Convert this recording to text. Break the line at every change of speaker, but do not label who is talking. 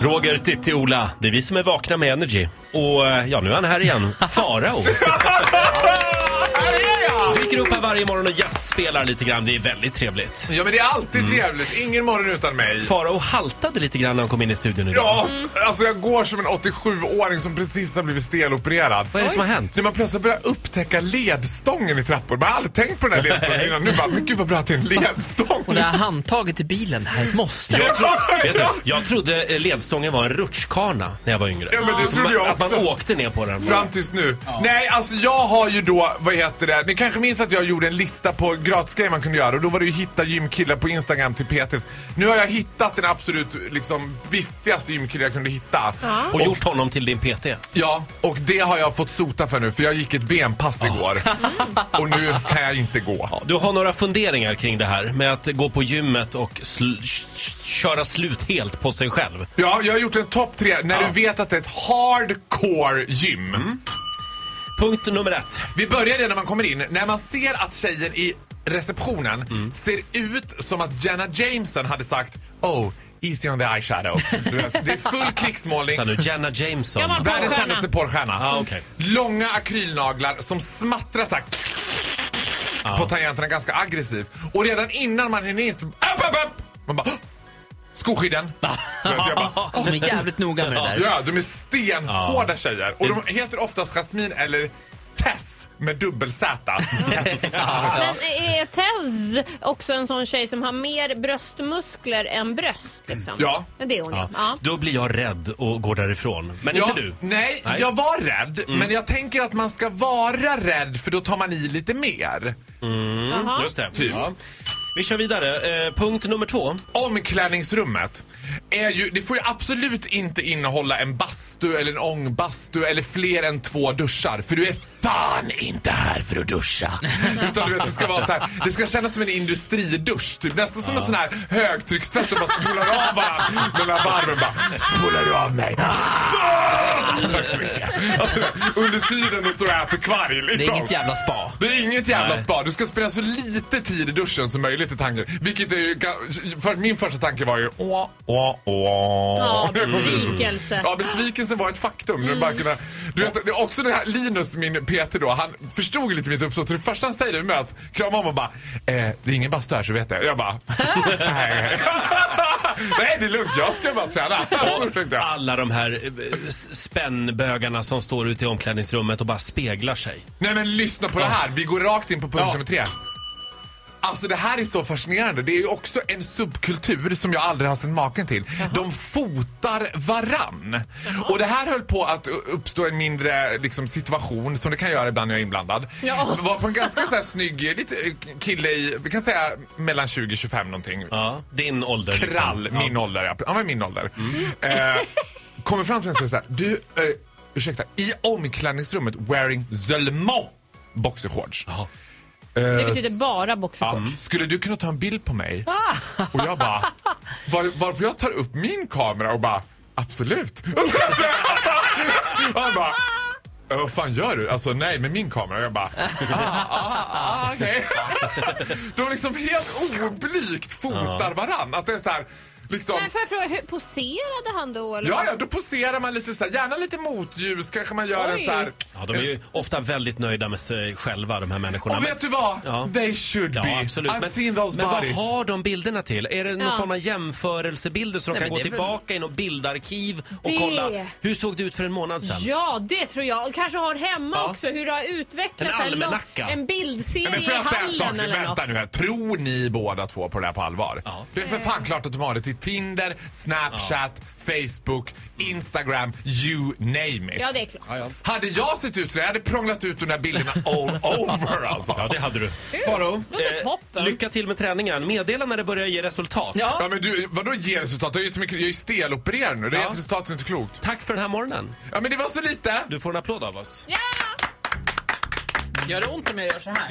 Roger, Titti, Ola. Det är vi som är vakna med Energy. Och eh, ja, nu är han här igen. Farao.
Här är jag!
Dyker upp här varje morgon och gästspelar lite grann. Det är väldigt trevligt.
Ja, men det är alltid
Mm.
trevligt. Ingen morgon utan mig.
Farao haltade lite grann när han kom in i studion idag.
Ja, alltså jag går som en 87-åring som precis har blivit stelopererad.
Vad är det som har hänt?
När man plötsligt börjar upptäcka ledstången i trappor. Man har aldrig tänkt på den här ledstången innan. Nu bara, men gud vad bra att det är en
Mm.
ledstång.
Och det här handtaget i bilen, det här är ett måste.
Jag, tro, vet du, jag trodde eh, ledstången var en rutschkana när jag var yngre.
Ja, men det
Att
trodde
man-
jag
Att man
också.
åkte ner på den.
Fram tills nu. Nej, alltså jag har ju då, vad heter det, ni kanske minns att jag gjorde en lista på gratisgrejer man kunde göra och då var det ju hitta gymkillar på Instagram till Peters. Nu har jag hittat den absolut liksom biffigaste gymkillen jag kunde hitta.
Och gjort honom till din PT.
Ja, och det har jag fått sota för nu för jag gick ett benpass igår. Och nu kan jag inte gå.
Du har några funderingar kring det här med att gå på gymmet och sl- sh- sh- köra slut helt på sig själv.
Ja, jag har gjort en topp tre när du vet att det är ett hardcore gym.
Punkt nummer ett.
Vi börjar redan när man kommer in. När man ser att tjejen i receptionen ser ut som att Jenna Jameson hade sagt Oh, easy on the eyeshadow. Du vet, det är full krigsmålning.
Vänta nu, Jenna Jameson.
Gammal
Världens
Porrstjärna.
kändaste porrstjärna.
Ah, okej.
Långa akrylnaglar som smattrar så här
Ah.
på tangenterna ganska aggressivt. Och redan innan man hinner in så... Upp, upp, upp! Man bara... "Åh! Skoskydden!
Ah.
Du vet, jag bara,
De är jävligt noga med det där.
Ja, de är
Ah.
stenhårda tjejer. Och de heter oftast Jasmine eller Tess med dubbel Z. Tess.
Men är Tez också en sån tjej som har mer bröstmuskler än bröst? Liksom?
Mm. Ja.
Det är hon ja. ja.
Då blir jag rädd och går därifrån. Men
Ja,
inte du.
Nej,
Nej. Mm.
jag var rädd. Men jag tänker att man ska vara rädd för då tar man i lite mer.
Jaha.
Just det.
Typ.
Ja. Vi kör vidare. Eh, punkt nummer två.
Omklädningsrummet är ju, det får ju absolut inte innehålla en bastu eller en ångbastu eller fler än två duschar. För du är fan inte här för att duscha. Utan du vet, det ska vara så här, det ska kännas som en industridusch. Typ. Nästan som en sån här högtryckstvätt där man spolar av varandra mellan varven. Bara, spolar du av mig? Ah! Tack så mycket. Under tiden du står och äter kvarg liksom.
Det är inget jävla spa.
Det är inget jävla spa. Du ska spela så lite tid i duschen som möjligt i tanken. Vilket är ju... ga- För min första tanke var ju... Åh, åh, åh.
Ja, besvikelse. Mm.
Ja, besvikelsen var ett faktum. Nu bara kunna, du vet, det är också det här Linus, min PT då, han förstod ju lite mitt uppsåt. Så Det första han säger när vi möts, kramar om och bara eh, “Det är ingen bastu här så vet jag”. Jag bara “Nej, Nej det är lugnt. Jag ska bara träna”. Så försökte jag.
Alla de här eh, s- spännbögarna som står ute i omklädningsrummet och bara speglar sig.
Nej men lyssna på det här. Vi går rakt in på punkt nummer tre. Alltså det här är så fascinerande. Det är ju också en subkultur som jag aldrig har sett maken till. De fotar varann. Och det här höll på att u- uppstå en mindre liksom, situation som det kan göra ibland när jag är inblandad.
Ja.
Det var på en ganska så här, snygg eh, lite, eh, kille i, vi kan säga mellan 20-25 någonting.
Ja, din ålder. liksom.
Krall,
Ja. Mm.
min ålder. Ja. Han var min ålder. Eh, kommer fram till mig och säger så här. Du, eh, ursäkta. I omklädningsrummet wearing Zelmont boxershorts.
Det betyder bara
Ja,
boxershorts.
skulle du kunna ta en bild på mig? Och jag bara, var, varpå jag tar upp min kamera och bara, absolut. Och han bara, "Eh, vad fan gör du? Alltså nej, med min kamera. Och jag bara, ah, ah, ah, okej. De liksom helt oblygt fotar varann. Att det är så här, liksom.
Men får jag fråga, hur poserade han då? Eller?
Ja, ja, då poserar man lite så här, gärna lite motljus, kanske man gör en
Oj.
så här.
Ja, de är ju ofta väldigt nöjda med sig själva, de här människorna.
Och
Men-
vet du vad?
Ja.
They should
Ja,
be.
absolut.
I've
men,
seen those
men vad
bodies.
har de bilderna till? Är det någon
Ja.
form av jämförelsebilder så de
Nej,
kan
men
gå
det är väl-
tillbaka i något bildarkiv och
Det-
kolla hur såg det ut för en månad sedan?
Ja, det tror jag. Och kanske har hemma
Ja.
också hur det har utvecklats.
En
här lång-
almanacka.
En bildserie
Men får
i
jag säga en sak?
hallen
nu?
eller något.
Vänta nu här. Tror ni båda två på det här på allvar?
Ja.
Det är för fan klart att de har det till Tinder, Snapchat, Facebook, Instagram, you name it.
Ja, det är klart.
Hade jag sett ut så jag hade prånglat ut de där bilderna all over alltså.
Ja, det hade du.
Faro.
Låter toppen.
eh, lycka till med träningen. Meddela när det börjar ge resultat.
Ja.
Ja men du, vadå ge resultat? Jag är ju så mycket- jag är ju stelopererad nu. Det är ett resultat som inte är klokt.
Tack för den här morgonen.
Ja men det var så lite.
Du får en applåd av oss.
Ja!
Gör det ont om jag gör så här?